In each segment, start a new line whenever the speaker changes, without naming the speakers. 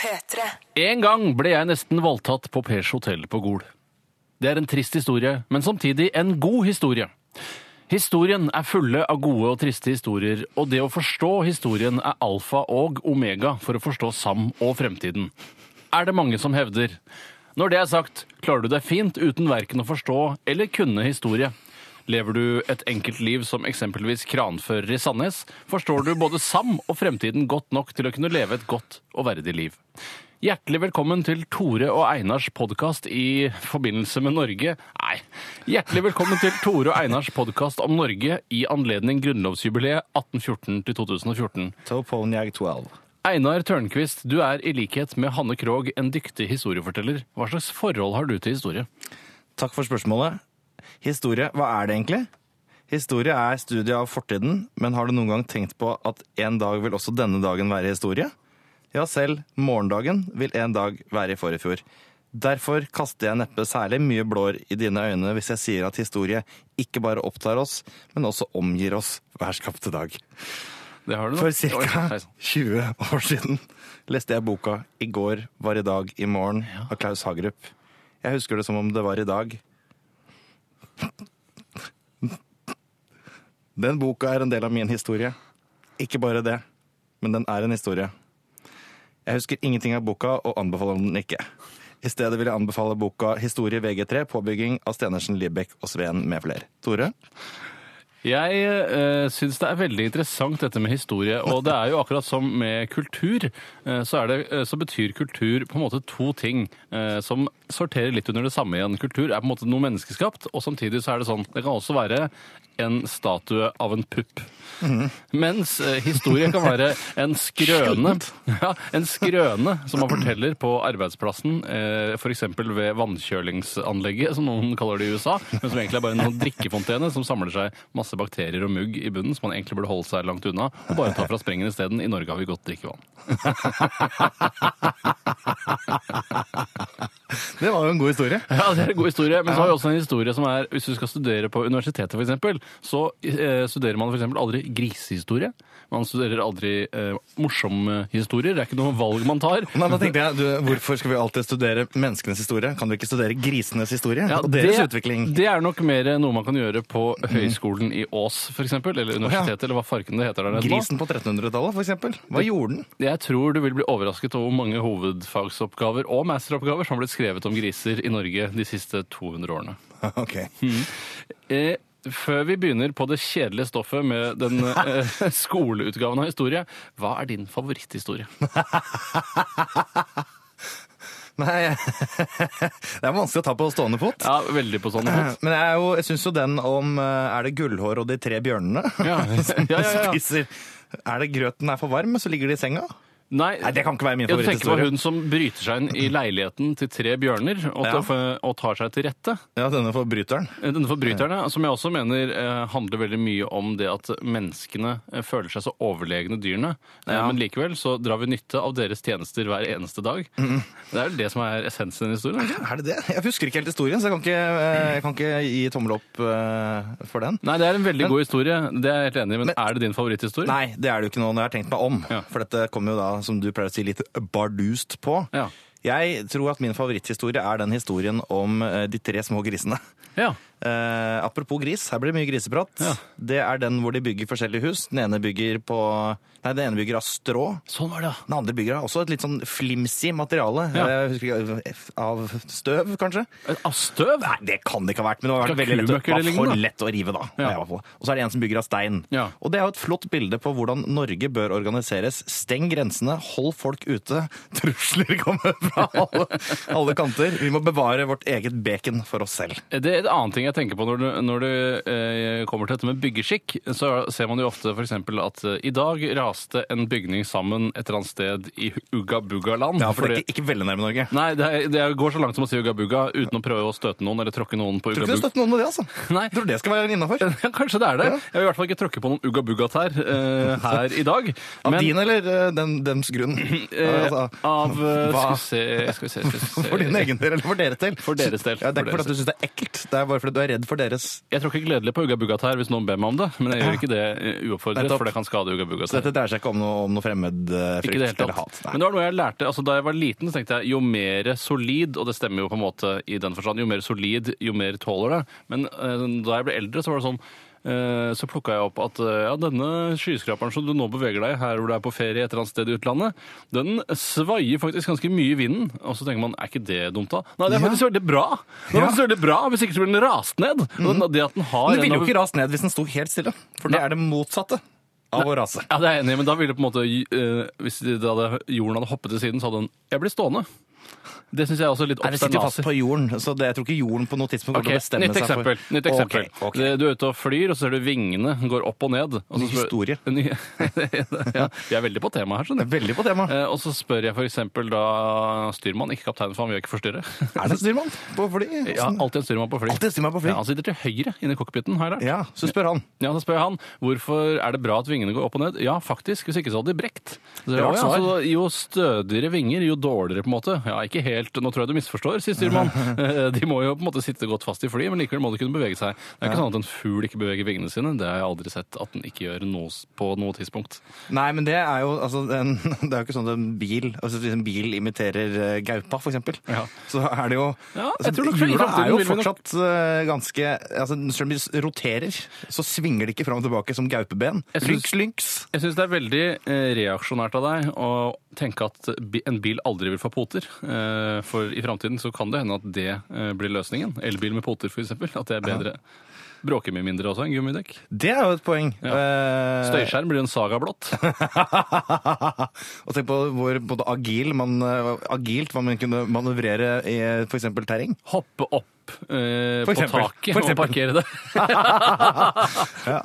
P3.
En gang ble jeg nesten voldtatt på Pers hotell på Gol. Det er en trist historie, men samtidig en god historie. Historien er fulle av gode og triste historier, og det å forstå historien er alfa og omega for å forstå Sam og fremtiden. Er det mange som hevder. Når det er sagt, klarer du deg fint uten verken å forstå eller kunne historie. Lever du et enkelt liv som eksempelvis kranfører i Sandnes, forstår du både Sam og fremtiden godt nok til å kunne leve et godt og verdig liv. Hjertelig velkommen til Tore og Einars podkast i forbindelse med Norge Nei. Hjertelig velkommen til Tore og Einars podkast om Norge i anledning grunnlovsjubileet 1814 til 2014.
Toponiac 12.
Einar Tørnquist, du er i likhet med Hanne Krogh en dyktig historieforteller. Hva slags forhold har du til historie?
Takk for spørsmålet. Historie, hva er det egentlig? Historie er studiet av fortiden, men har du noen gang tenkt på at en dag vil også denne dagen være historie? Ja, selv morgendagen vil en dag være i forfjor. Derfor kaster jeg neppe særlig mye blår i dine øyne hvis jeg sier at historie ikke bare opptar oss, men også omgir oss hver skapte dag.
Det har du
For
Oi,
ca.
hei sann.
20 år siden leste jeg boka 'I går var i dag i morgen' av Klaus Hagerup. Jeg husker det som om det var i dag. Den boka er en del av min historie. Ikke bare det, men den er en historie. Jeg husker ingenting av boka og anbefaler den ikke. I stedet vil jeg anbefale boka 'Historie VG3', påbygging av Stenersen, Libek og Sveen med flere. Tore?
Jeg uh, syns det er veldig interessant dette med historie. Og det er jo akkurat som med kultur, eh, så, er det, eh, så betyr kultur på en måte to ting eh, som sorterer litt under det samme igjen. Kultur er på en måte noe menneskeskapt, og samtidig så er det sånn Det kan også være en statue av en pupp. Mens eh, historie kan være en skrøne, ja, en skrøne som man forteller på arbeidsplassen, eh, f.eks. ved vannkjølingsanlegget, som noen kaller det i USA, men som egentlig er bare en sånn drikkefontene som samler seg masse bakterier og mugg i bunnen, som man egentlig burde holde seg langt unna, og bare ta fra sprengen isteden. I Norge har vi godt drikkevann.
Det var jo en god historie.
Ja, det er en god historie, men så har vi også en historie som er, hvis du skal studere på universitetet for eksempel, så eh, studerer man for eksempel aldri grisehistorie, man studerer aldri eh, morsomme historier, det er ikke noe valg man tar.
Nei, da tenkte jeg, du, Hvorfor skal vi alltid studere menneskenes historie? Kan du ikke studere grisenes historie?
Ja,
og deres utvikling? Mhm.
Det er nok mer noe man kan gjøre på høyskolen i Ås, for eksempel, eller universitetet, eller hva farken det heter der nede nå.
Grisen på 1300-tallet, for eksempel. Hva gjorde den?
Jeg tror du vil bli overrasket over hvor mange hovedfagsoppgaver og masteroppgaver som har blitt skrevet om griser i Norge de siste 200 årene.
Ok.
Eh, før vi begynner på det kjedelige stoffet med den eh, skoleutgaven av historie, hva er din favoritthistorie?
Nei, det er vanskelig å ta på stående fot.
Ja, veldig på sånn fot.
Men jeg, er jo- jeg syns jo den om eh, Er det Gullhår og de tre bjørnene
Ja, ja, ja, ja.
spiser Er det grøten er for varm, så ligger de i senga?
Nei,
Nei, det kan ikke være min
Ja, du tenker på
favoritthistorie.
hun som bryter seg inn i leiligheten til tre bjørner og,
Ja.
og tar seg til rette.
Ja, denne forbryteren.
Eh, Denne forbryterne, som jeg også mener eh, handler veldig mye om det at menneskene eh, føler seg så overlegne dyrene, eh,
Ja.
men likevel så drar vi nytte av deres tjenester hver eneste dag. Det er vel det som er essensen i den historien. ikke?
Er det det? Jeg husker ikke helt historien, så jeg kan ikke, eh, jeg kan ikke gi tommel opp eh, for den.
Nei, det er en veldig god historie, det er jeg helt enig i, men,
Men-
er det din favoritthistorie?
Nei, det er det jo ikke noe når jeg har tenkt meg om.
Ja.
For dette kommer jo da, som du pleier å si, litt bardust på.
Ja.
Jeg tror at min favoritthistorie er den historien om eh, de tre små grisene.
Ja.
Eh, apropos gris, her blir det mye griseprat.
Ja.
Det er den hvor de bygger forskjellige hus. Den ene bygger, på, nei, den ene bygger av strå.
Sånn var det, ja.
Den andre bygger av også et litt sånn flimsy materiale. Eh,
Ja.
Jeg husker ikke, av støv, kanskje?
Et- Av støv?
Nei, det kan det ikke ha vært, men det har vært
Fra
veldig lett, å-
kumøkker eller
var for
lignende?
lett å rive da.
Ja.
i hvert fall. Og så er det en som bygger av stein.
Ja.
Og det er jo et flott bilde på hvordan Norge bør organiseres. Steng grensene, hold folk ute. Trusler kommer fra alle, alle kanter. Vi må bevare vårt eget bacon for oss selv.
Eh, Det er et annet ting jeg tenker på når du, når du eh, kommer til dette med byggeskikk. Så ser man jo ofte f.eks. at eh, i dag raste en bygning sammen et eller annet sted i Ugga-Bugga-land.
Ja, for det er ikke, ikke veldig nærme Norge.
Nei, det, er, det er- går så langt som å si ugga-bugga uten å prøve å støte noen eller tråkke noen på
Tror ikke du
ugga-bugga.
støtter noen med det, altså.
Nei.
Jeg tror det skal være innafor.
Ja, kanskje det er det. Jeg vil i hvert fall ikke tråkke på noen ugga-bugga-tær eh, her i dag.
Av
Men-
din eller eh, den, dems grunn?
Eh,
Altså,
av eh,
hva-
Skal vi se, skal vi se, skal vi se.
for din egen del, eller for dere til?
Eh, For deres del.
Ja, det er
For
ikke fordi
deres
at du syns det er ekkelt, det er bare fordi du for jeg er redd for deres.
Jeg tråkker gledelig på ugabugatær hvis noen ber meg om det, men jeg gjør ikke det eh, uoppfordret,
Nettopp.
for det kan skade
Så
ugabugatær.
dette dreier seg ikke om noe, om noe fremmed eh,
Ikke i det hele
frykt
tatt.
eller hat.
Men det var noe jeg lærte, altså Da jeg var liten, så tenkte jeg jo mer solid, og det stemmer jo på en måte i den forstand, jo mer solid, jo mer tåler det. Men eh, da jeg ble eldre, så var det sånn eh, så plukka jeg opp at eh, ja, denne skyskraperen som du nå beveger deg i her hvor du er på ferie et eller annet sted i utlandet, den svaier faktisk ganske mye i vinden. Og så tenker man er ikke det dumt, da? Nei, det er faktisk veldig bra! Det er
Ja. Mhm.
faktisk veldig bra, Hvis ikke så blir den rast ned. Og den- det at den har
Men det
en
ville
av-
jo ikke rast ned hvis den sto helt stille. For det er det motsatte av å rase.
Ja, det er jeg enig i, men da ville det på en måte eh, Hvis det hadde, jorden hadde hoppet til siden, så hadde den Jeg blir stående. Det syns jeg er også litt
Nei, det sitter jo fast
obsternasig.
på jorden, så det, jeg tror ikke jorden på noe tidspunkt
Ok,
kommer til å bestemme
nytt
seg for
eksempel. Nytt eksempel.
Ok, ok.
Det- Du er ute og flyr, og så ser du vingene går opp og ned. Og så
Ny historie.
Ny- ja, vi er veldig på tema her, skjønner du.
Veldig på tema.
Eh, Og så spør jeg f.eks. da styrmann, ikke kaptein, for han vil jeg ikke forstyrre.
Er det styrmann på fly?
Jeg har alltid en styrmann på fly.
sånn. Alltid styrmann på
Ja,
fly.
han sitter til høyre inne i cockpiten, har jeg lært.
Ja, så spør han.
Ja, så spør jeg han, hvorfor er det bra at vingene går opp og ned? Ja, faktisk, hvis ikke så hadde de brekt. Så,
Rart
ja,
svar.
så jo stødigere vinger, jo dårligere på en måte. Ja, ikke helt, nå tror jeg du misforstår, sier styrmann. Eh, De må jo på en måte sitte godt fast i fly, men likevel må de kunne bevege seg. Det er ikke sånn at en fugl ikke beveger vingene sine, det har jeg aldri sett at den ikke gjør noe, s- på noe tidspunkt.
Nei, men det er jo altså, en, Det er jo ikke sånn at en bil altså, Hvis en bil imiterer eh, gaupa, for eksempel,
Ja.
så er det jo
Ja, jeg
altså,
tror nok i
Hjula
fremtiden
er jo
vil vi nok-
fortsatt eh, ganske altså, Selv om de roterer, så svinger de ikke fram og tilbake som gaupeben.
Jeg synes-
Lynx, lynx.
Jeg synes det er veldig eh, reaksjonært av deg å tenke at bi- en bil aldri vil få poter, Eh, for i fremtiden så kan det hende at det eh, blir løsningen. Elbil med poter for eksempel, at det er bedre. Bråker mye mindre også enn gummidekk.
Det er jo et poeng. Eh,
Støyskjerm blir en saga blått.
og tenk på hvor både agil man, eh, agilt man kunne manøvrere i f.eks. terreng.
Hoppe opp eh,
For
på
eksempel.
taket
For
og
eksempel.
parkere det.
Ja.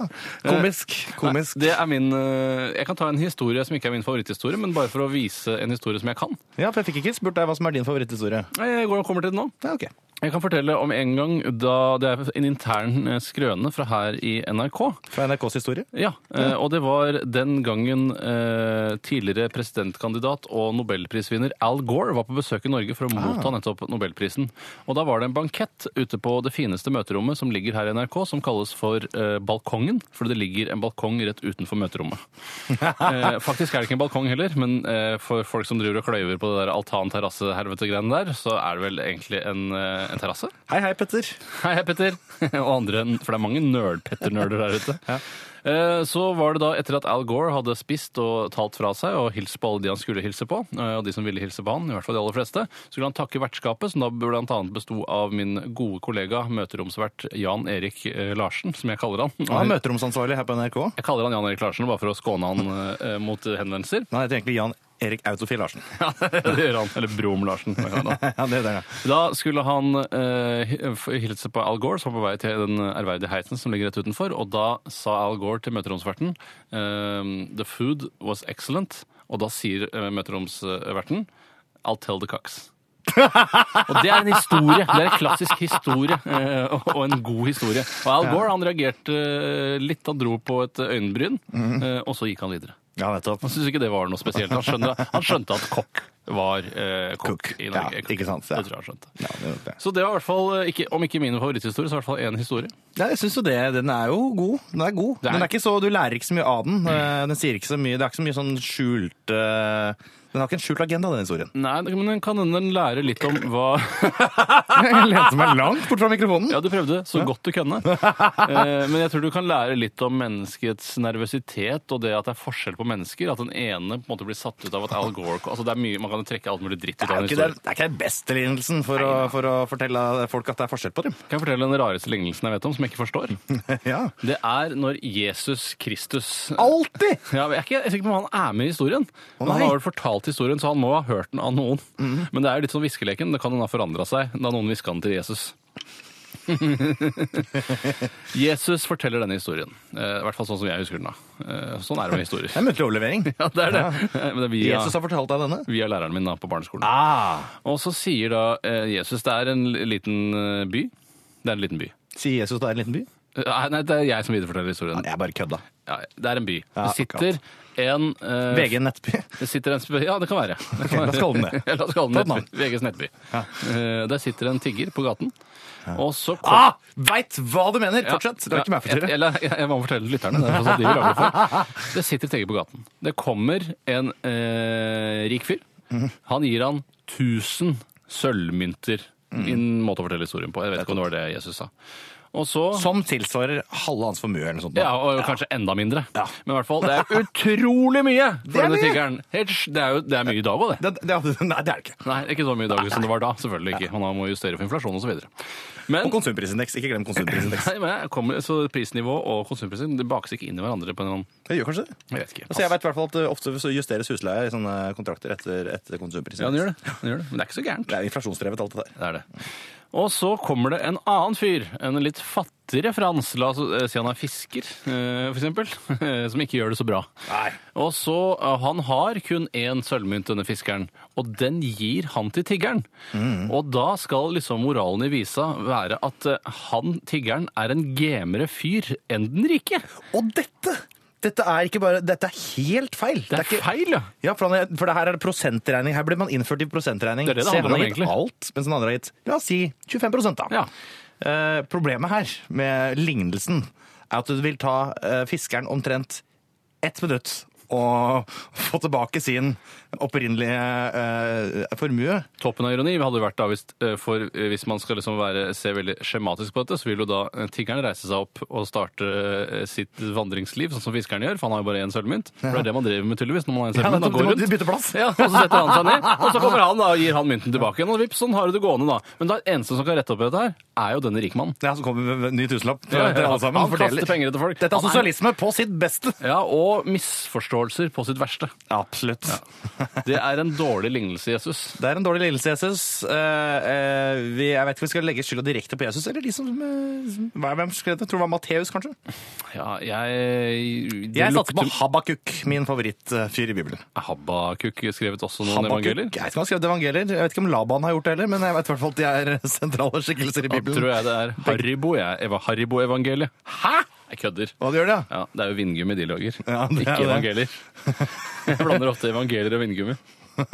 Komisk. komisk.
Det er min, eh, jeg kan ta en historie som ikke er min favoritthistorie, men bare for å vise en historie som jeg kan.
Ja, for Jeg fikk ikke spurt deg hva som er din favoritthistorie.
Jeg går og kommer til det nå.
Ja, ok.
Jeg kan fortelle om en gang da det er en intern eh, skrøne fra her i NRK.
Fra NRKs historie.
Ja, eh, og det var den gangen eh, tidligere presidentkandidat og nobelprisvinner Al Gore var på besøk i Norge for å motta nettopp nobelprisen. Og da var det en bankett ute på det fineste møterommet som ligger her i NRK, som kalles for eh, Balkongen, fordi det ligger en balkong rett utenfor møterommet. Eh, faktisk er det ikke en balkong heller, men eh, for folk som driver og kløyver på det der altan-terrasse-helvete-greiene der, så er det vel egentlig en, eh, en terrasse.
Hei, hei, Petter.
Hei, hei, Petter. Og andre, for det er mange nerd-Petter-nerder der ute. Eh, Så var det da, etter at Al Gore hadde spist og talt fra seg og hilst på alle de han skulle hilse på, eh, og de som ville hilse på han, i hvert fall de aller fleste, så skulle han takke vertskapet, som da blant annet besto av min gode kollega, møteromsvert Jan Erik eh, Larsen, som jeg kaller han.
Han er møteromsansvarlig her på NRK.
Jeg kaller han Jan Erik Larsen bare for å skåne han eh, mot henvendelser.
Men han heter egentlig Jan Erik Autofil Larsen.
Ja, det gjør han. Eller Brom Larsen. som jeg kaller han.
Ja, det er det.
Da skulle han eh, hi- hilse på Al Gore, som var på vei til den ærverdige heisen som ligger rett utenfor. Og da sa Al Gore til møteromsverten ehm, The food was excellent. Og da sier eh, møteromsverten I'll tell the cocks. og det er en historie. Det er en klassisk historie, eh, og- og en god historie. Og Al Gore han reagerte eh, litt. Han dro på et øyenbryn,
Mhm.
eh, og så gikk han videre.
Ja, nettopp.
Han syntes ikke det var noe spesielt. Han skjønte, han skjønte at kokk var eh, kokk
Kokk,
i Norge.
ja, ikke sant, ja.
Det tror jeg han skjønte.
Ja, det er det.
Så det var i hvert fall, eh, ikke, om ikke min favoritthistorie, så i hvert fall én historie.
Ja, jeg syns jo det. Den er jo god. Den er god.
er-
Men det er ikke så, du lærer ikke så mye av den. Eh, Den sier ikke så mye. Det er ikke så mye sånn skjult eh, Den har ikke en skjult agenda, den historien.
Nei, det- men den kan hende den lære litt om hva
Jeg lente meg langt bort fra mikrofonen.
Ja, du prøvde så godt du kunne. Eh, Men jeg tror du kan lære litt om menneskets nervøsitet og det at det er forskjell på mennesker. At den ene på en måte blir satt ut av at Al Gore Altså det er mye, Man kan trekke alt mulig dritt ut
Det
av
er,
en
jo ikke
historie.
den, det er ikke den beste lignelsen for, å, for å fortelle folk at det er forskjell på dem.
Kan jeg fortelle den rareste lignelsen jeg vet om, som jeg ikke forstår?
Ja.
Det er når Jesus Kristus
Alltid!
Ja, men jeg er ikke jeg er sikker på om han er med i historien. Men han
nei.
har vel fortalt historien, så han må ha hørt den av noen. Men det er jo litt sånn viskeleken. Det kan hende ha forandra seg da noen hviska den til Jesus. Jesus forteller denne historien. Eh, I hvert fall sånn som jeg husker den. da. Eh, sånn er det med historier.
Det er muntlig overlevering.
Ja, det er det. Eh, Men det er via,
Jesus har fortalt deg denne.
via læreren min da, på barneskolen.
Ah.
Og så sier da eh, Jesus Det er en liten eh, by. Det er en liten by.
Sier Jesus det er en liten by?
Eh, Nei, det er jeg som videreforteller historien.
Jeg bare kødda.
Ja, det er en by.
Ja,
det sitter en eh,
VG Nettby.
Det sitter en sp- Ja, det kan være. Det kan
Ok, la oss
være.
kalle den det.
Ja, la oss kalle
Ta
den
et navn.
Nettby. VGs Nettby. Eh, der sitter en tigger på gaten, og så kom-
Ah! Veit hva du mener!
Ja,
Fortsett. La ikke meg
ja,
forstyrre.
eller, jeg, jeg må fortelle lytterne. Det, er sånn de vil lage det, for. det sitter en tigger på gaten. Det kommer en eh, rik fyr.
Mhm.
Han gir han 1000 sølvmynter.
Mhm.
En måte å fortelle historien på. Jeg vet ikke om det var det Jesus sa. Og så
Som tilsvarer halve hans formue eller noe sånt.
ja, og kanskje enda mindre.
Ja.
Men i hvert fall, det er utrolig mye for
Det er
denne
mye.
tiggeren. Helt sj- Det er jo det er mye i dag òg, det.
Det, det, nei, det er det ikke.
Nei, ikke så mye i dag som det var da. Selvfølgelig ikke. Man må justere for inflasjon osv. Men,
Og konsumprisindeks. Ikke glem konsumprisindeks.
nei, men jeg kommer, så prisnivå og konsumprising det bakes ikke inn i hverandre på en eller annen
Det gjør kanskje det.
Jeg vet ikke.
Altså, jeg vet i hvert fall at eh, Ofte så justeres husleie i sånne kontrakter etter, etter konsumprisindeks.
Ja, den gjør, det. den gjør det. Men det er ikke så gærent.
Det er inflasjonsdrevet, alt det der.
Det er det. Og så kommer det en annen fyr, en litt fattigere Frans, la oss eh, si han er fisker, eh, for eksempel, som ikke gjør det så bra.
Nei.
Og så, eh, han har kun én sølvmynt, denne fiskeren, og den gir han til tiggeren. Og da skal liksom moralen i visa være at eh, han, tiggeren, er en gamere fyr enn den rike.
Og dette! Dette er ikke bare, dette er helt feil.
Det er
ikke-
feil, ja.
Ja, for, han, er- for det her er det prosentregning. Her blir man innført i prosentregning.
Det er det det
Se,
handler
han
om,
har gitt
egentlig.
alt, mens den andre har gitt la oss si 25 da.
Ja.
Eh, problemet her med lignelsen er at du vil ta eh, fiskeren omtrent ett minutt og få tilbake sin opprinnelige eh, formue.
Toppen av ironi hadde jo vært da hvis, eh, for eh, hvis man skal liksom være, se veldig skjematisk på dette, så vil jo da eh, tiggeren reise seg opp og starte eh, sitt vandringsliv, sånn som fiskeren gjør, for han har jo bare én sølvmynt. For det er det man driver med tydeligvis når man har en
Ja,
sølvmynt. man
nettopp,
går
du må
rundt.
bytte plass.
Ja, og så setter han seg ned, og så kommer han da og gir han mynten tilbake igjen, og vips, sånn har du det gående da. Men da eneste som kan rette opp i dette her, er jo denne rikmannen.
Det er han som altså, kommer med en ny tusenlapp. til
Ja, ja,
dere alle sammen,
han kaster
fordeler.
penger etter folk.
Dette er
Han er-
sosialisme på sitt beste.
Ja, og misforståelser på sitt verste.
Absolutt.
Det er en dårlig lignelse, Jesus.
Det er en dårlig lidelse, Jesus. Eh, eh, vi, jeg vet ikke om vi skal legge skylda direkte på Jesus, eller de som eh, som- hva- Hvem skrev det? Tror det var Matteus, kanskje?
Ja, jeg... det
Jeg satser på
lukter-
Habakuk, min favorittfyr i Bibelen.
Habakuk skrevet også noen
Habakuk, Jeg
evangelier.
vet ikke om han skrev evangelier. Jeg vet ikke om Laban har gjort det heller, men jeg vet i hvert fall at de er sentrale skikkelser i
Da tror
Bibelen.
jeg det er Haribo, jeg. Eva Haribo-evangeliet.
Hæ?!
Jeg kødder.
Hva gjør det, ja?
Ja, det er jo vindgummi de lager.
Ja, det er
Ikke
det.
evangelier. Jeg blander ofte evangelier og vindgummi.
Det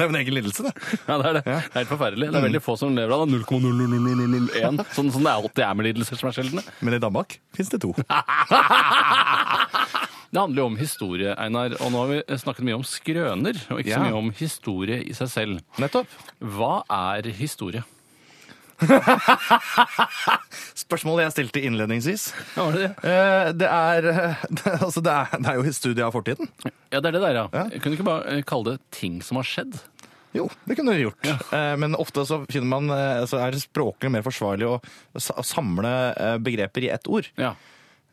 er jo en egen lidelse, det.
Ja, Det er det. Det er helt forferdelig. Det er veldig få som lever av det. 0,00001. Sånn som det alltid er med lidelser som er sjeldne.
Men i Danmark fins det to.
Det handler jo om historie, Einar. Og nå har vi snakket mye om skrøner, og ikke
Ja.
så mye om historie i seg selv.
Nettopp.
Hva er historie?
Spørsmålet jeg stilte innledningsvis.
Ja, var det det?
Eh, Det er, eh, det, altså det, er, det er jo et studie av fortiden.
Ja, det er det der, ja.
Ja.
Jeg kunne ikke bare eh, kalle det ting som har skjedd.
Jo, det kunne du gjort. Eh, Men ofte så, finner man, eh, så er det språklig mer forsvarlig å sa- samle eh, begreper i ett ord.
Ja.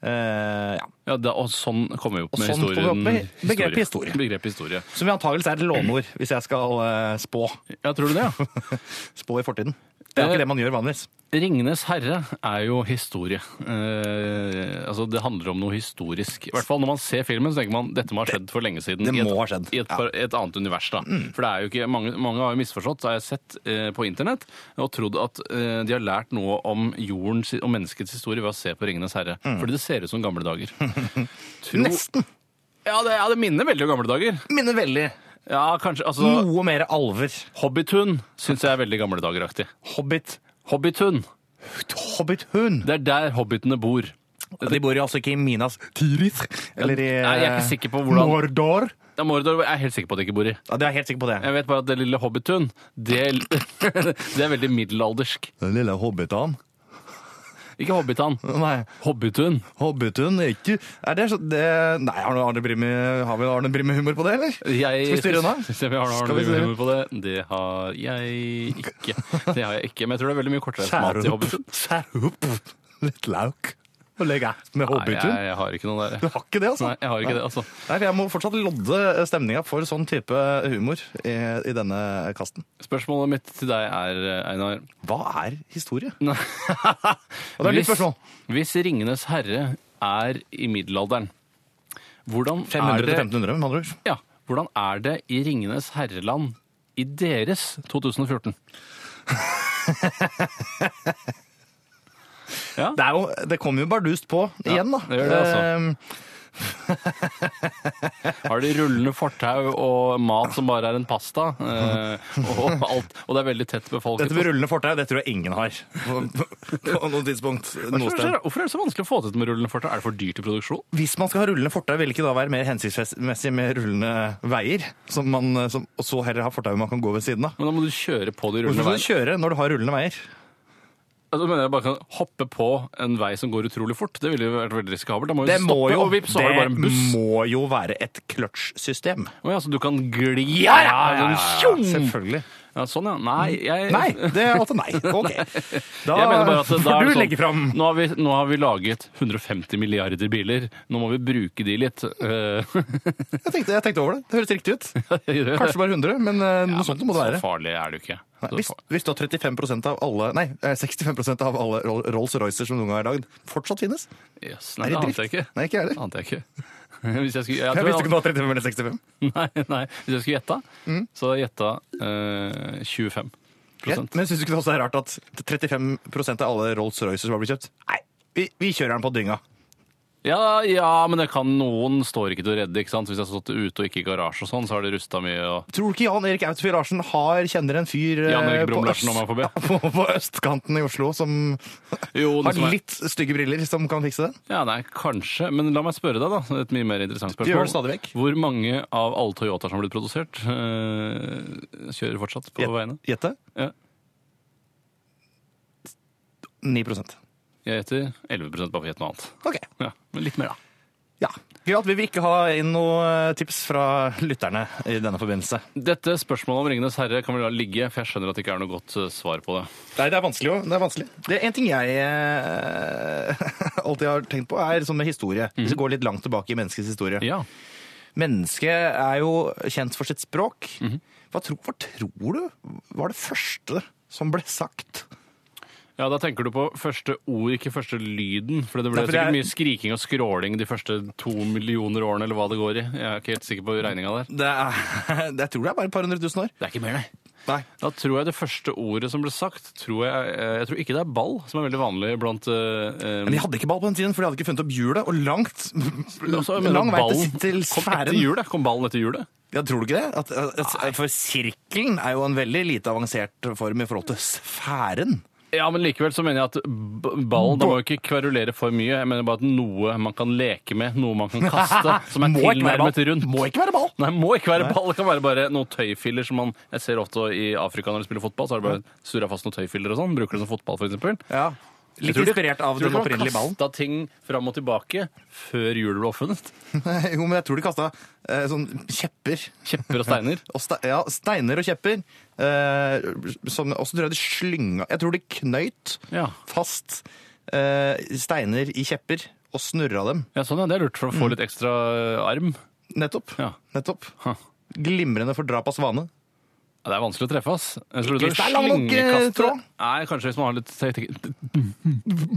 Eh, ja.
Ja, da, og sånn kommer vi opp
Og
med
sånn kommer vi opp
historien.
med begrepet historie.
Begrepet historie.
Som antakeligvis er et låneord, hvis jeg skal eh, spå.
Ja, tror du det, ja?
Spå i fortiden. Det er
Eh.
jo ikke det man gjør vanligvis.
Ringenes herre er jo historie. Eh, altså, det handler om noe historisk. I hvert fall når man ser filmen, så tenker man dette må ha skjedd for lenge siden.
det
i et,
må ha skjedd, Mm.
I et, par- et annet univers, da. For det er jo ikke, mange, mange har jo misforstått, det har jeg sett eh, på internett, og trodd at eh, de har lært noe om jordens og menneskets historie ved å se på Ringenes herre.
Mm.
Fordi det ser ut som gamle dager. Tro-
Nesten.
Ja, det, ja, det minner veldig om gamle dager.
Minner veldig.
Ja, kanskje, altså...
Noe mer alver.
Hobbitun syns jeg er veldig gamle dageraktig.
Hobbit.
Hobbitun.
Hobbithund.
Det er der hobbitene bor.
De bor jo altså ikke i Minas Tirith. Eller eh, i
Nei, jeg er ikke sikker på hvordan-
Mordor.
Ja, Mordor er jeg helt sikker på at de ikke bor i.
Ja, det er jeg helt sikker på det.
Jeg vet bare at det lille Hobbitun, det, det er veldig middelaldersk.
Den lille hobbitan.
Ikke Hobbitan.
Nei,
Hobbitun.
hobbitun er ikke Er det så det, Nei, har du Arne Brimi, har vi Arne Brimi-humor på det, eller?
Jeg,
Skal vi styre unna?
Se om vi har noe
Skal vi
humor
styre?
på det. Det har jeg ikke. Det har jeg ikke, Men jeg tror det er veldig mye kortere mat i Hobbitun.
Skjær opp litt lauk og legg æ med
Nei, jeg,
hobbitun.
jeg har ikke noe
Du
der.
har ikke det, altså?
Nei, jeg har ikke det, altså.
Nei, for Jeg må fortsatt lodde stemninga for sånn type humor i, i denne kasten.
Spørsmålet mitt til deg er, eh, Einar
Hva er historie?
Nei.
Og det er ditt
Hvis-
spørsmål.
Hvis Ringenes herre er i middelalderen, hvordan er
500 til
det,
1500, med andre ord.
ja, hvordan er det i Ringenes herreland i deres 2014? ja,
Det, er jo, det kommer jo bardust på igjen, da.
det gjør det, altså.
Ehm,
Har de rullende fortau og mat som bare er en pasta, eh, og alt, og det er veldig tett befolket.
Dette med rullende fortau, det tror jeg ingen har. På, på, på noe tidspunkt. Noe
Hvorfor er
sted.
det- hvorfor er det så vanskelig å få til dette med rullende fortau? Er det for dyrt i produksjon?
Hvis man skal ha rullende fortau, vil det ikke da være mer hensiktsmessig med rullende veier? Som man, som, og så heller ha fortau man kan gå ved siden av.
Men da må du kjøre på de rullende
Hvorfor skal du
veiene.
kjøre når du har rullende veier?
Altså, Da mener jeg bare kan hoppe på en vei som går utrolig fort. Det ville jo vært veldig risikabelt. Da må vi
Det må
stoppe,
jo,
og vips, så var det bare en
det
buss.
må jo være et kløtsjsystem.
Å ja, så du kan gli
Ja, ja,
av
ja,
den,
ja,
tjong!
selvfølgelig.
Ja, sånn, ja. Nei, jeg
Nei, det er altså nei. Ok. Da
Jeg mener bare at det- da er
får
det
du
sånn,
legge fram
Nå har, vi, nå har vi laget 150 milliarder biler. Nå må vi bruke de litt. Eh,
jeg tenkte, jeg tenkte over det. Det høres riktig ut.
gjør det.
Kanskje bare 100, men eh, noe sånt må det
så
være.
farlig er det jo ikke.
Nei,
Så
Hvis,
fa-
hvis da 35 av alle, nei, eh, 65 av alle Roll- Rolls-Roycer som noen gang er lagd, fortsatt finnes,
Yes,
er
nei,
i
det
drift.
ante jeg ikke.
Nei, ikke jeg
Det
heller.
ante jeg ikke. Hvis jeg skulle, jeg,
Jeg
tror
visste ikke Mm. om det var 35 eller 65.
jeg- nei, nei, hvis jeg skulle gjette, så hadde jeg gjetta eh, 25
Ja, men syns du ikke det også er rart at 35 av alle Rolls-Roycer som har blitt kjøpt Nei, vi, vi kjører den på dynga.
Ja, ja, men det kan noen står ikke til å redde. ikke sant? Hvis jeg har stått ute og ikke i garasje og sånn, så har det rusta mye. og...
Tror du ikke Jan Erik Autofjell Larsen har, kjenner en fyr eh,
Jan Erik
på,
Brum Larsen, om jeg får be.
Ja, på, på østkanten i Oslo som
Jo, den
har
som er-
litt stygge briller, som kan fikse den?
Ja, nei, kanskje. Men la meg spørre deg, da. Et mye mer interessant spørsmål.
gjør det stadig vekk.
Hvor mange av alle Toyotaer som har blitt produsert, eh, kjører fortsatt på veiene?
Gjette?
Ja.
9
Jeg gjetter 11 bare for å gjette noe annet.
OK.
Ja, men litt mer, da.
Ja. Gøy at vi vil ikke ha inn noe eh, tips fra lytterne i denne forbindelse.
Dette spørsmålet om 'Ringenes herre' kan vi la ligge, for jeg skjønner at det ikke er noe godt eh, svar på det.
Nei, det er vanskelig jo. Det er vanskelig. Det er en ting jeg eh, alltid har tenkt på, er sånn med historie. Hvis vi går litt langt tilbake i menneskets historie.
Ja.
Mennesket er jo kjent for sitt språk. hva, tro, hva tror du var det første som ble sagt?
ja, da tenker du på første ord, ikke første lyden. For det ble
Nei, for det
sikkert
er-
mye skriking og skråling de første to millioner årene, eller hva det går i. Jeg er ikke helt sikker på regninga der.
Det er, jeg tror det er bare et par hundre tusen år.
Det er ikke mer, nei.
Nei.
Da tror jeg det første ordet som ble sagt tror Jeg, eh, jeg tror ikke det er ball, som er veldig vanlig blant eh, eh,
Men de hadde ikke ball på den tiden, for de hadde ikke funnet opp hjulet. Og langt,
altså, jeg mener
lang
at
vei
ballen
til, til
Kom etter
sfæren.
hjulet? Kom ballen etter hjulet?
Ja, tror du ikke det? At, at, at, for sirkelen er jo en veldig lite avansert form i forhold til sfæren.
Ja, men likevel så mener jeg at b- ballen Da må jo ikke kverulere for mye. Jeg mener bare at noe man kan leke med, noe man kan kaste, som er
Må ikke være ball.
tilnærmet rundt.
Må ikke være ball!
Nei, må ikke være ball. Det kan være bare noen tøyfiller som man Jeg ser ofte i Afrika når de spiller fotball, så har de bare surra fast noen tøyfiller og sånn. Bruker det som fotball, for eksempel.
Ja. Litt
Tror du-
inspirert av den opprinnelige ballen.
Tror du man kasta ting fram og tilbake før hjulet ble oppfunnet?
Jo, men jeg tror de kasta eh, sånn kjepper.
Kjepper og steiner?
Og ste ja, steiner og kjepper. Eh, som, og så tror jeg de slynga Jeg tror de knøyt
Ja.
fast eh, steiner i kjepper og snurra dem.
Ja, sånn, ja. Det er lurt for
Mm.
å få litt ekstra eh, arm.
Nettopp.
Ja.
Nettopp.
Ha.
Glimrende for drap av svane.
Ja, Det er vanskelig å treffe, ass. Jeg tror
Hvis det er lang nok, eh,
slyngekaste-
tråd.
Nei, kanskje hvis man har litt teknikk.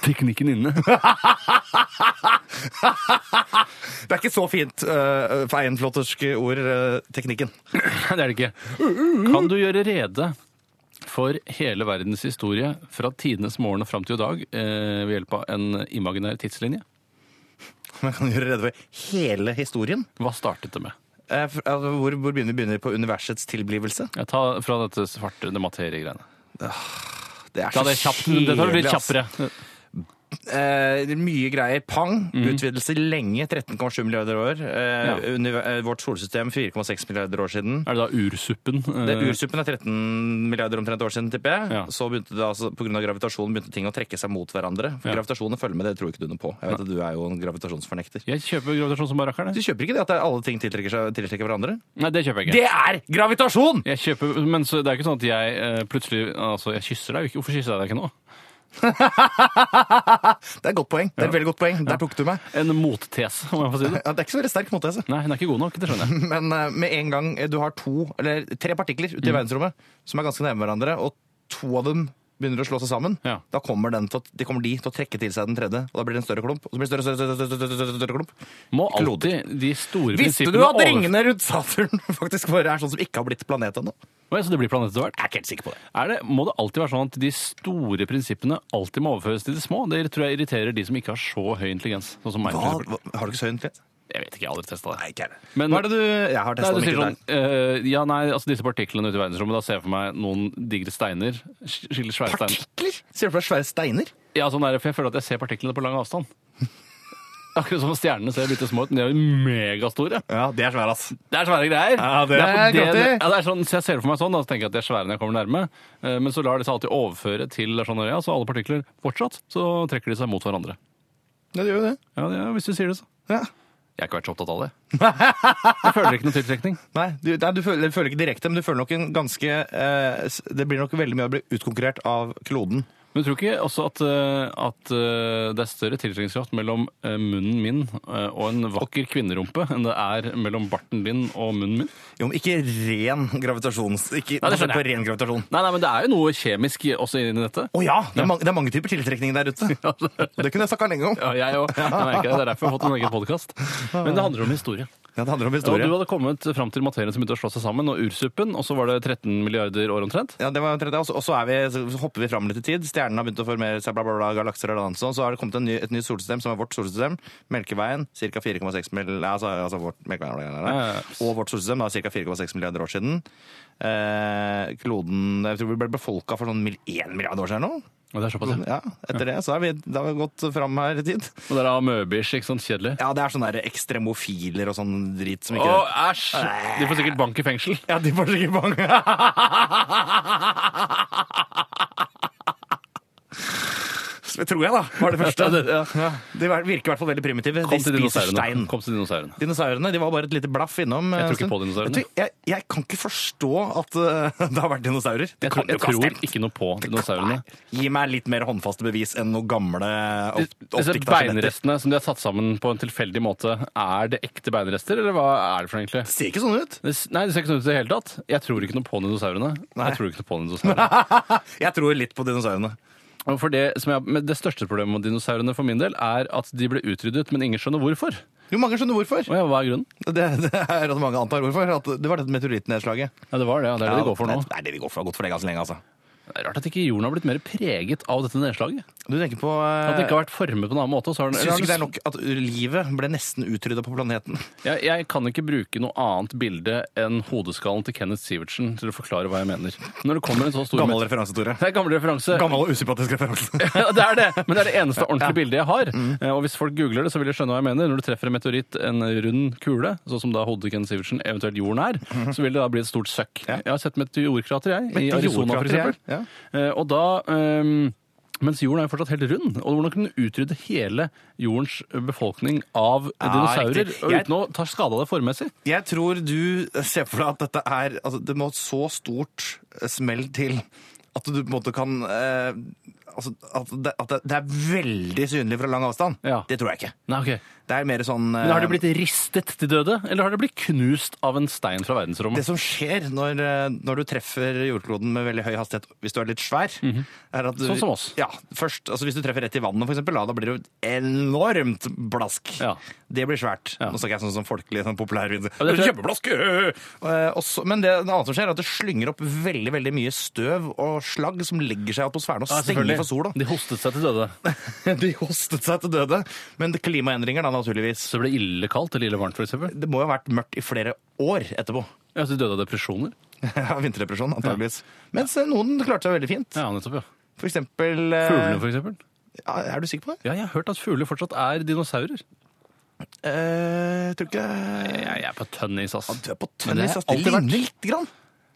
Teknikken inne.
Det er ikke så fint eh, for einflåterske ord, eh, teknikken.
Nei, det er det ikke. Kan du gjøre rede for hele verdens historie fra tidenes morgen og fram til i dag eh, ved hjelp av en imaginær tidslinje?
Men jeg kan gjøre rede for hele historien.
Hva startet det med?
Eh, for- altså, hvor, hvor begynner vi? Begynner på universets tilblivelse?
Jeg tar fra dette svartende materiegreiene.
Det er
Ta det kjapt. Det tar du litt
ass.
kjappere.
Eh, mye greier. Pang! Utvidelse lenge, 13,7 milliarder år. Eh,
Mhm. Ja.
univ- eh, vårt solsystem 4,6 milliarder år siden.
Er det da ursuppen? eh,
Det, ursuppen er 13 milliarder omtrent år siden, tipper jeg.
Ja.
Så begynte det altså, på grunn av gravitasjonen begynte ting å trekke seg mot hverandre. For
Ja.
gravitasjonen følger med, det tror ikke du noe på. Jeg vet at du er jo en gravitasjonsfornekter.
Jeg kjøper gravitasjon som bare rakkeren.
Du
jeg.
kjøper ikke det at alle ting tiltrekker, seg, tiltrekker hverandre?
Nei, det kjøper jeg ikke.
Det er gravitasjon!
Jeg kjøper, men så, det er ikke sånn at jeg eh, plutselig altså, jeg kysser deg. jo ikke. Hvorfor kysser jeg deg ikke nå?
Det er et godt poeng. Det er et veldig godt poeng. Der tok du meg.
En mottese, om jeg får si det.
Ja, det er ikke så veldig sterk mottese.
Nei, hun er ikke god nok. Det skjønner jeg.
Men eh, med en Mm. gang du har to, eller tre partikler ute i verdensrommet som er ganske nærme hverandre, og to av dem begynner å slå seg sammen,
Ja.
da kommer, den til, å- de kommer de til å trekke til seg den tredje, og da blir det en større klump. Og så blir det større, større, større, større, større, større, større klump.
Må alltid de store
Visste
prinsippene
du at
over-
ringene rundt Saturn faktisk bare er sånn som ikke har blitt planet ennå?
Oi, Så det blir planet etter hvert?
Jeg er ikke helt sikker på det.
Er det, må det alltid være sånn at de store prinsippene alltid må overføres til de små? Det tror jeg irriterer de som ikke har så høy intelligens. Sånn som meg,
Hva?
for eksempel.
Hva? Har du ikke så høy intelligens?
Jeg vet ikke, jeg har aldri testa det.
ikke heller.
Men-
Hva er det du Jeg har
Nei,
testa
du
mye
sier
der.
sånn, eh, ja, nei, altså disse partiklene ute i verdensrommet, da ser jeg for meg noen digre steiner. sk- Skikkelig svære steiner.
Partikler? Sier du for deg svære steiner?
Ja, sånn er det, for jeg føler at jeg ser partiklene på lang avstand. Akkurat som stjernene ser bitte små ut, men de er jo megastore.
Ja, de er svære, ass.
Det er svære greier.
Ja, det er kraftig.
ja, det er sånn, så jeg ser det for meg sånn, da, så tenker jeg at de er svære når jeg kommer nærme. Eh, Men så lar de seg alltid overføre til sånn, ja, så alle partikler fortsatt, så trekker de seg mot hverandre.
Ja, de gjør jo det.
Ja, det- ja, hvis du sier det, så.
Ja.
Jeg har ikke vært så opptatt av det. Jeg føler ikke noe tiltrekning.
Nei, du, nei, du føler, du føler ikke direkte, men du føler nok en ganske eh, s- Det blir nok veldig mye å bli utkonkurrert av kloden.
Men du tror ikke også at, eh, at eh, det er større tiltrekningskraft mellom eh, munnen min eh, og en vakker kvinnerumpe enn det er mellom barten din og munnen min?
Jo, men ikke ren gravitasjon. Ikke altså,
Nei, det skjønner jeg.
på ren gravitasjon.
Nei, nei, men det er jo noe kjemisk også inni dette.
Å ja! Det er, mange, det er mange typer tiltrekning der ute. Det kunne jeg snakka lenge om.
Ja, jeg òg. Jeg merker det. Det er derfor jeg har fått en egen podkast. Men det handler om historie.
Ja, det handler om
Og du
historie.
hadde kommet fram til materien som begynte å slå seg sammen, og ursuppen, og så var det 13 milliarder år omtrent.
Ja, det var omtrent det. Og så- Og så, er vi, så hopper vi fram litt i tid. Stjernene har begynt å formere seg, bla, bla, bla, galakser og annet sånt. Så har det kommet en ny, et nytt solsystem, som er vårt solsystem. Melkeveien, ca. 4,6 mil- ja, altså, altså vårt Melkeveien, bla, bla, bla.
Ja, ja, ja.
Og vårt solsystem da, ca. 4,6 milliarder år siden. Eh, kloden jeg tror vi ble befolka for sånn mil- 1 milliard år siden eller noe.
Og det er såpass, ja.
Ja, etter det så er vi, da har vi gått fram her i tid.
Og det er amøbish, ikke sant? Kjedelig.
Ja, det er sånne der ekstremofiler og sånn drit som
Å,
ikke
æsj! De får sikkert bank i fengsel.
Ja, de får sikkert mange. Det tror jeg, da, var det første. Ja, De virker i hvert fall veldig primitive. De
Kom til
spiser
dinosaurene.
stein.
Kom til dinosaurene.
Dinosaurene de var bare et lite blaff innom. eh,
Jeg tror ikke
en stund.
på dinosaurene.
Vet du, Jeg, jeg kan ikke forstå at eh, det har vært dinosaurer. Det
Jeg,
kan
tror,
jo
jeg
ikke ha
tror
stemt.
ikke noe på
Nei,
dinosaurene.
Gi meg litt mer håndfaste bevis enn noen gamle opp-
Disse
oppdikta skjeletter.
beinrestene som de har satt sammen på en tilfeldig måte, er det ekte beinrester, eller hva er det for noe egentlig?
Ser ikke sånn ut!
Det, s- nei, det ser ikke sånn ut i det hele tatt. Jeg tror ikke noe på dinosaurene.
Nei.
Jeg tror ikke noe på dinosaurene.
Jeg tror litt på dinosaurene.
Og For det, som jeg, men det største problemet med dinosaurene for min del er at de ble utryddet, men ingen skjønner hvorfor.
Jo, mange skjønner hvorfor.
Og ja, hva er grunnen?
Det, det er at mange antar hvorfor. At det var dette meteorittnedslaget.
Ja, det var det. Ja. Det er det de går for nå.
Det er det vi går for. Det har gått for det ganske lenge, altså.
Det er rart at ikke jorden har blitt mer preget av dette nedslaget.
Du tenker på eh,
At det ikke har vært formet på en annen måte. og Så har den,
Syns
eller
ikke det
har
er
den-
nok at livet ble nesten utrydda på planeten?
jeg, jeg kan ikke bruke noe annet bilde enn hodeskallen til Kenneth Sivertsen til å forklare hva jeg mener. Når det kommer en så stor
Gammel referanse, Tore.
Det er gammel referanse.
Gammel og usympatisk referanse.
Ja, det er det, men det er det eneste ordentlige bildet jeg har. Eh, Og hvis folk googler det, så vil de skjønne hva jeg mener. Når du treffer en meteoritt, en rund kule, sånn som da hodet til Ken Sivertsen, eventuelt jorden er, så vil det da bli et stort søkk.
Ja.
Jeg har sett Mhm. meteorkrater, jeg, i Arizona for
Meteorkrater,
eksempel. Eh, Og da... ehm, mens jorden er jo fortsatt helt rund, og hvordan kunne den utrydde hele jordens befolkning av dinosaurer
riktig.
og
Jeg-
uten å ta skade av det formmessig?
Jeg tror du ser for deg at dette er altså, Det må et så stort eh, smell til at du på en måte kan eh, altså, at, det, at det- det er veldig synlig fra lang avstand.
Ja.
Det tror jeg ikke.
Nei, ok.
Det er mer sånn eh,
Men har de blitt ristet til døde, eller har de blitt knust av en stein fra verdensrommet?
Det som skjer når, eh, når du treffer jordkloden med veldig høy hastighet, hvis du er litt svær er at du,
Sånn som oss.
Ja, først, altså Hvis du treffer rett i vannet, for eksempel, da, da blir det jo et enormt blask.
Ja.
Det blir svært. Nå snakker jeg sånn som folkelig sånn populærvin.
Ja, det tror jeg-
Kjempeblask! øh! Eh, og så- Men det, det annet som skjer, er at det slynger opp veldig veldig mye støv og slagg som legger seg i atmosfæren og
Ja,
stenger
selvfølgelig.
for sola.
De hostet seg til døde.
De hostet seg til døde. Men det- klimaendringer, da, naturligvis.
Så det ble ille kaldt eller ille varmt, for eksempel?
Det må jo ha vært mørkt i flere år etterpå.
Ja, så de døde av depresjoner?
Ja, Vinterdepresjon, antageligvis. Mens eh, noen klarte seg veldig fint.
Ja, nettopp, ja.
For eksempel eh,
Fuglene, for eksempel?
ja, Er du sikker på det?
Ja, jeg har hørt at fugler fortsatt er dinosaurer.
Eh, jeg tror ikke
Jeg, jeg er på tønnis, ass.
Du er på
Men det
tønnis.
har
ass. Det
alltid vært-
ligner litt grann.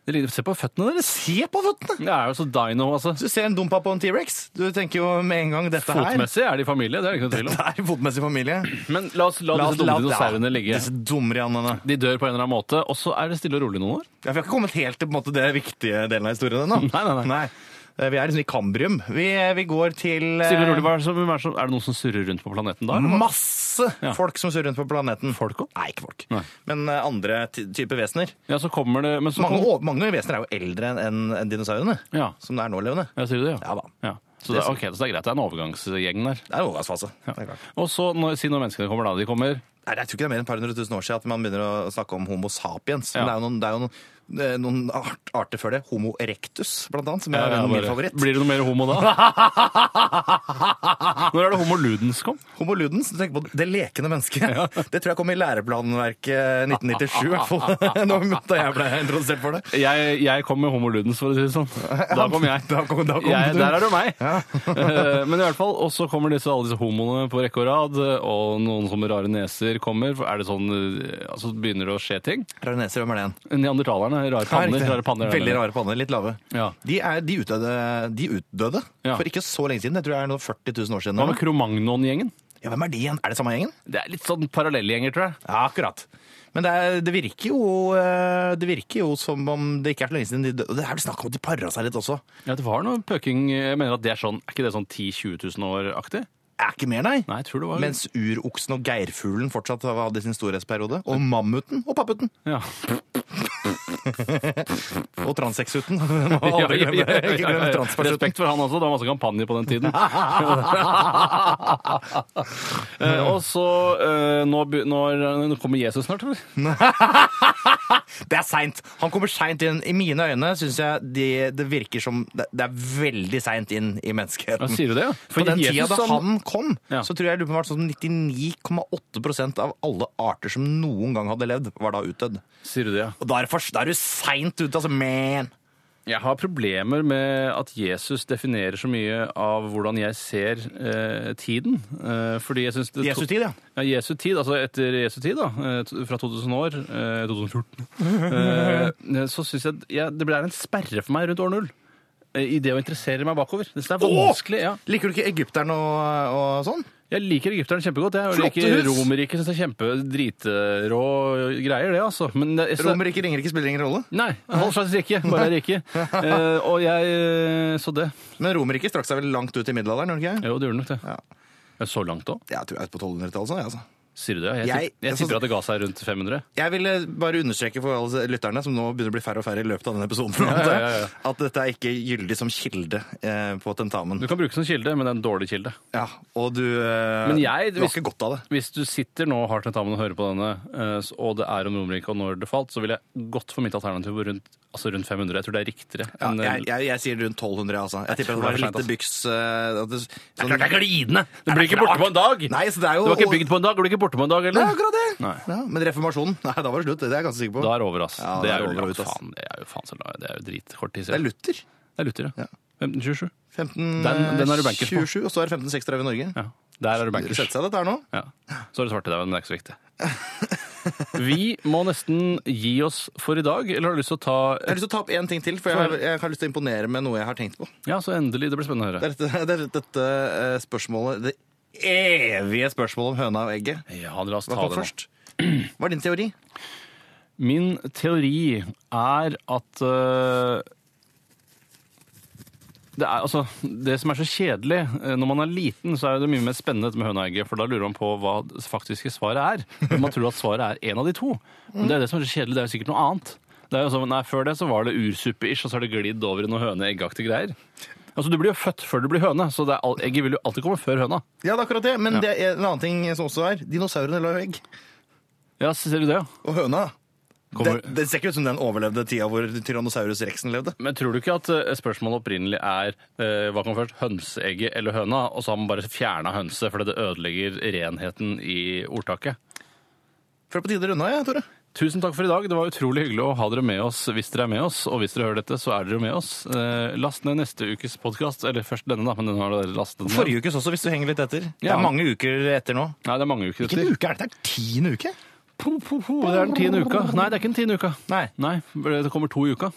Det ligner- Se på føttene deres!
Se på føttene!
Det er jo så dino, altså.
Du ser en dumpa på en T-rex. Du tenker jo med en gang dette her.
Fotmessig er de familie, det er det ikke noe tvil om.
Det er fotmessig familie.
Men la oss la,
La oss
disse dumme
la-
dinosaurene
ja,
ligge.
Disse dumriannene.
De dør på en eller annen måte, og så er det stille og rolig noen år.
Ja, vi har ikke kommet helt til på en måte, det viktige delen av historien ennå.
Nei, nei, nei.
Eh, Vi er liksom i Kambrium. Vi, vi går til eh,
Stille og rolig, hva er det som- hvem er det som- er det noen som surrer rundt på planeten da? eller hva?
Masse
Ja.
folk som surrer rundt på planeten. Folk òg? Nei, ikke folk.
Nei.
Men eh, andre ty- typer vesener.
Ja, så kommer det men så
Mange,
kom-
å- mange vesener er jo eldre enn enn dinosaurene,
Ja,
som det er nålevende.
jeg sier det, ja.
Ja da.
ja. Så, det, er- ok, så det er greit, det er en overgangsgjeng der.
Det er en overgangsfase. Det er klart.
Og så, når, si når menneskene kommer da, de kommer
Nei, Jeg tror ikke det er mer enn et par hundre tusen år siden at man begynner å snakke om Homo sapiens.
Ja.
Men det er jo noen, det er jo noen, eh, noen art, arter før det. Homo erectus, blant annet, som er
Ja,
en av min
bare-
favoritt.
Blir det noe mer homo da? Når er det homo ludens kom?
Homo ludens, du tenker på det lekende mennesket. Det tror jeg kom i læreplanverket 1997, i hvert fall. Nå- Da jeg ble introdusert for det.
Jeg, jeg kom med homo ludens, for å si det sånn. Da kom jeg.
Da kom- da kom
jeg
du.
der er det jo meg. Eh, Men i hvert fall, og så kommer disse, alle disse homoene på rekke og rad, og noen som med rare neser kommer. Er det sånn, eh, altså begynner det å skje ting?
Raneser, hvem er det igjen?
Neandertalerne, rare panner.
Ja,
Rare panner
Veldig rare panner, litt lave.
Ja.
De, er, de utdøde, de utdødde
Ja.
for ikke så lenge siden. Jeg tror det er noe 40 000 år siden.
Hva med Kromagnon-gjengen?
Ja, hvem er de igjen? Er det samme gjengen?
Det er litt sånn parallellgjenger, tror jeg.
Ja, akkurat. Men det, er, det, virker jo, eh, det virker jo som om det ikke er så lenge siden de døde. Og Det er vel snakk om at de para seg litt også.
Ja, det var noe pøking. Jeg mener at det er sånn, er ikke det sånn 10 000-20 000 år-aktig?
Er ikke mer, nei.
Nei, jeg tror det var
Mens uroksen og geirfuglen fortsatt hadde sin storhetsperiode. Og mammuten og papputen.
ja.
Og transsexuten. Må aldri glemme- Ikke glem transpersuten.
Respekt for han også, det var masse kampanje på den tiden. Eh, og så eh, nå, be- når, nå kommer Jesus snart, eller?
Det er seint! Han kommer seint inn. I mine øyne syns jeg det, det virker som det, det er veldig seint inn i
Ja,
menneskeheten.
sier du det? ja?
På den
Jesus
tida da
som-
han kom,
Ja.
så tror jeg det var sånn 99,8 av alle arter som noen gang hadde levd, var da utdødd.
Sier du det, ja?
Og da er, det for- da er du seint ute, altså, man!
Jeg har problemer med at Jesus definerer så mye av hvordan jeg ser eh, tiden. Eh, fordi jeg synes det
Jesu tid, ja.
Ja, Jesu tid, altså etter Jesu tid, da, eh, t- fra 2000 år, eh, 2014, eh, så syns jeg, at- ja, det blir en sperre for meg rundt år null. eh, I det å interessere meg bakover. Det synes jeg er
Åh!
vanskelig. ja.
Liker du ikke egypteren og, og sånn?
Jeg liker egypterne kjempegodt. Jeg og
Flotte
liker
hus!
Romerriket. Syns jeg er kjempedritrå greier, det, altså. Men jeg, synes-
Romerriket, Ringerike spiller ingen rolle.
Nei. All slags rike. Bare rike. Eh, og jeg eh, Så det.
Men Romerriket strakk seg vel langt ut i middelalderen? gjorde det ikke?
Jo, det gjorde nok det.
Ja.
Ja, Så langt òg?
Jeg tror jeg er på 1200-tallet. sånn, jeg, Altså.
Sier du det? Jeg,
Jeg- altså-
jeg, jeg tipper at det ga seg rundt 500.
Jeg ville bare understreke for alle lytterne, som nå begynner å bli færre og færre i løpet av denne episoden, antar jeg,
ja, ja, ja.
at dette er ikke gyldig som kilde eh, på tentamen.
Du kan bruke det som kilde, men det er en dårlig kilde.
Ja, og du, eh,
Men jeg-
du har ikke godt av det.
Hvis du sitter nå hardt til tentamen og hører på denne, eh, s- og det er om Romerike og når det falt, så ville jeg gått for mitt alternativ på rundt, altså rundt 500. Jeg tror det er riktigere.
Ja,
enn-
jeg, jeg, jeg sier rundt 1200, altså. Jeg, tipper
tror
at
det er
det var
for
lite byks eh, at det, sånn,
Klart det er glidende! Det blir
det er
ikke borte
klart.
på en dag!
Nei, så det er jo
Du var ikke bygd på en dag, og du er ikke borte på en dag
Det er
heller.
akkurat det!
Nei.
Ja, men reformasjonen, nei, da var det slutt. Det er jeg ganske sikker på.
Da er det over, ass.
Ja,
det, er
da er det
jo,
over, ass.
faen, det er jo faen så langt. Det er jo dritkort tid
Det er
siden.
Luther.
Det er Luther, ja. 1527.
15,
Den- den er du bankers på.
27, og så er det 1563 i Norge.
Ja. Der er du
Du
bankers.
setter seg dette her nå.
Ja. Så er det svarte dauden, men det er ikke så viktig. Vi må nesten gi oss for i dag, eller har du lyst til å ta
Jeg har lyst til å ta opp én ting til, for jeg, har- jeg har lyst til å imponere med noe jeg har tenkt på.
Ja, så endelig. Det blir spennende å
Det
høre.
er dette, det er dette eh, spørsmålet, det evige spørsmålet om høna og egget.
Ja, la oss
Hva
ta
kom
det nå.
først? Hva er din teori?
Min teori er at eh, det, er, altså, det som er så kjedelig eh, når man er liten, så er det mye mer spennende dette med høna og egget, for da lurer man på hva det faktiske svaret er. Men Man tror at svaret er en av de to. Men det er det som er så kjedelig, det er jo sikkert noe annet. Det er jo sånn, nei, Før det så var det ursuppe-ish, og så har det glidd over i noe høne-eggaktige greier. Altså, Du blir jo født før du blir høne, så det er, all- egget vil jo alltid komme før høna.
Ja, det er akkurat det, men det er en annen ting som også er. Dinosaurene la jo egg.
Ja, ser du det, ja?
Og høna. Det,
Kommer-
det ser ikke ut som den overlevde tida hvor Tyrannosaurus rexen levde.
Men tror du ikke at eh, spørsmålet opprinnelig er eh, hva kom først, hønseegget eller høna? Og så har man bare fjerna hønse fordi det ødelegger renheten i ordtaket.
Før på tide runda, jeg, Tore.
Tusen takk for i dag. Det var utrolig hyggelig å ha dere med oss hvis dere er med oss. Og hvis dere hører dette, så er dere med oss. Eh, last ned neste ukes podkast. Eller først denne, da, men den har dere lastet ned.
Forrige ukes også, hvis du henger litt etter. Det
Ja.
er mange uker etter nå.
Nei, det er mange uker
Hvilken
etter.
uke er det? Det er tiende uke?
Po, po, po. Det er den tiende uka. Nei, det er ikke den tiende uka.
Nei.
Nei, det kommer to i uka.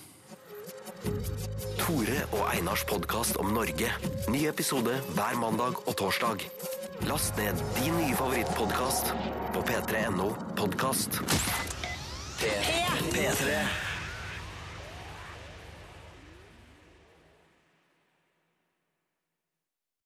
Tore og Einars podkast om Norge. Ny episode hver mandag og torsdag. Last ned din nye favorittpodkast på p3.no podkast. P3. P3.